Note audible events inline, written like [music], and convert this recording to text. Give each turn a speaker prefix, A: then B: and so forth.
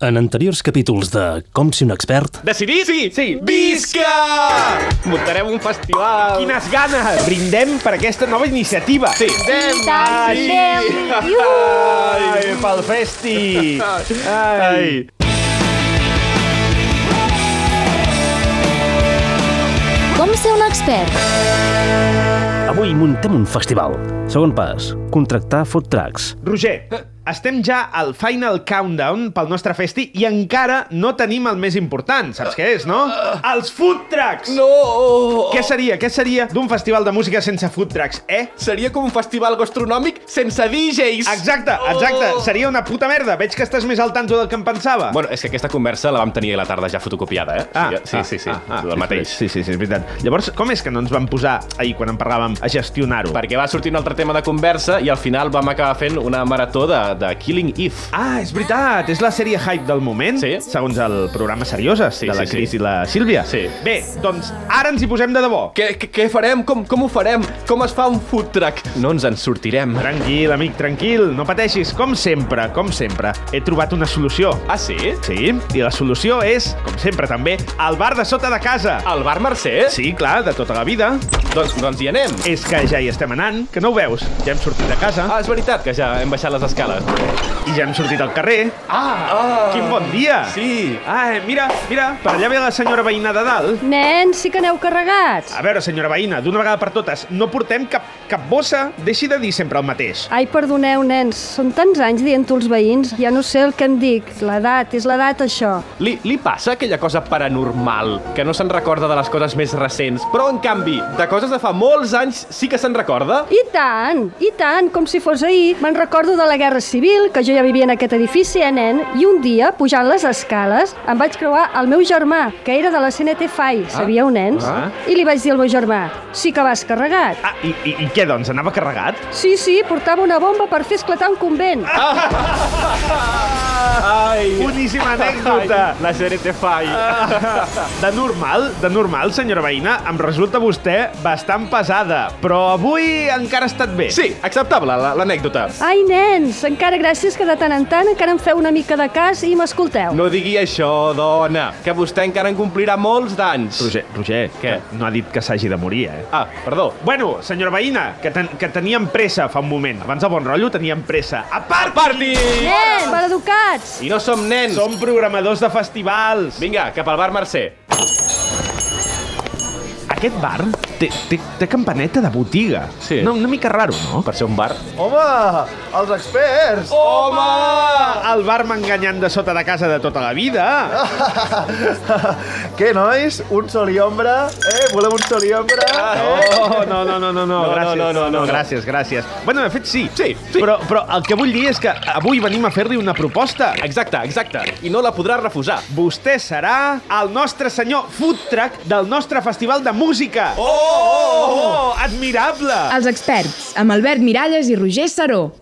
A: En anteriors capítols de Com si un expert,
B: Decidir, sí!
C: Sí.
B: Visca!
C: Muntarem un festival.
B: Quines ganes!
C: Brindem per aquesta nova iniciativa.
B: Sí.
C: Brindem. sí.
D: tant, brindem. Iuhu.
C: Ai, pel festi. Ai.
B: Ai.
D: Com ser un expert?
A: avui muntem un festival. Segon pas, contractar food trucks.
C: Roger, estem ja al final countdown pel nostre festi i encara no tenim el més important. Saps què és, no? Els food trucks!
B: No!
C: Què seria, què seria d'un festival de música sense food trucks, eh?
B: Seria com un festival gastronòmic sense Oh. DJs.
C: Exacte, exacte. Seria una puta merda. Veig que estàs més al tanto del que em pensava.
B: Bueno, és que aquesta conversa la vam tenir a la tarda ja fotocopiada, eh? sí, sí, sí, ah, ah, el mateix.
C: Sí, sí, sí, és veritat. Llavors, com és que no ens vam posar ahir quan en parlàvem a gestionar-ho?
B: Perquè va sortir un altre tema de conversa i al final vam acabar fent una marató de, de Killing Eve.
C: Ah, és veritat, és la sèrie hype del moment,
B: Sí.
C: segons el programa Serioses,
B: Sí,
C: de la
B: sí, sí.
C: Cris i la Sílvia.
B: Sí.
C: Bé, doncs ara ens hi posem de debò.
B: Què, què, què farem? Com, com ho farem? Com es fa un food truck? No ens en sortirem.
C: Tranquil, amic, tranquil, no pateixis. Com sempre, com sempre, he trobat una solució.
B: Ah, sí?
C: Sí, i la solució és, com sempre també, el bar de sota de casa.
B: Al bar Mercè?
C: Sí, clar, de tota la vida.
B: Doncs, doncs hi anem.
C: És que ja hi estem anant, que no ho veus. Ja hem sortit de casa
B: Ah, és veritat que ja hem baixat les escales.
C: i ja hem sortit al carrer.
B: Ah!
C: Quin bon dia!
B: Sí!
C: Ah, mira, mira, per allà ve la senyora veïna de dalt.
D: Nens, sí que aneu carregats.
C: A veure, senyora veïna, d'una vegada per totes, no portem cap, cap bossa, deixi de dir sempre el mateix.
D: Ai, perdoneu, nens, són tants anys dient-ho als veïns, ja no sé el que em dic. L'edat, és l'edat, això.
B: Li, li passa aquella cosa paranormal, que no se'n recorda de les coses més recents, però, en canvi, de coses de fa molts anys sí que se'n recorda?
D: I tant, i tant, com si fos ahir. Me'n recordo de la Guerra Civil, que jo ja vivia en aquest edifici, eh, nen? I un dia, pujant les escales, em vaig creuar el meu germà, que era de la CNT FAI, sabíeu, nens?
C: ah.
D: I li vaig dir al meu germà, sí que vas carregat.
C: Ah, i, i, i què, doncs? Anava carregat?
D: Sí, sí, portava una bomba per fer esclatar un convent.
B: Ai!
C: Boníssima [laughs] anècdota!
B: La CNT Fai.
C: De normal, de normal, senyora veïna, em resulta vostè bastant pesada, però avui encara ha estat bé.
B: Sí, acceptable, la- l'anècdota.
D: Ai, nens, encara gràcies que de tant en tant encara em feu una mica de cas i m'escolteu.
B: No digui això, dona, que vostè encara en complirà molts d'anys.
C: Roger, Roger,
B: Què?
C: que no ha dit que s'hagi de morir, eh?
B: Ah, perdó.
C: Bueno, senyora veïna, que, ten que teníem pressa fa un moment. Abans del bon rotllo teníem pressa. A part,
B: Party!
D: Nens, maleducats!
B: I no som nens.
C: som programadors de festivals.
B: Vinga, cap al bar Mercè.
C: Aquest bar té, té, té campaneta de botiga.
B: Sí.
C: No, una mica raro, no?
B: Per ser un bar.
E: Home, els experts!
B: Oh. Home!
C: El bar m'enganyant de sota de casa de tota la vida.
E: [laughs] Què, nois? Un sol i ombra? Eh, volem un sol i ombra? Eh?
C: Oh, no, no, no, no, no, gràcies.
B: no, no, no, no.
C: Gràcies, gràcies. Bueno, de fet, sí.
B: Sí, sí.
C: Però, però el que vull dir és que avui venim a fer-li una proposta.
B: Exacte, exacte. I no la podrà refusar.
C: Vostè serà el nostre senyor food truck del nostre festival de música. Oh! oh, oh, oh admirable!
F: Els experts, amb Albert Miralles i Roger Saró.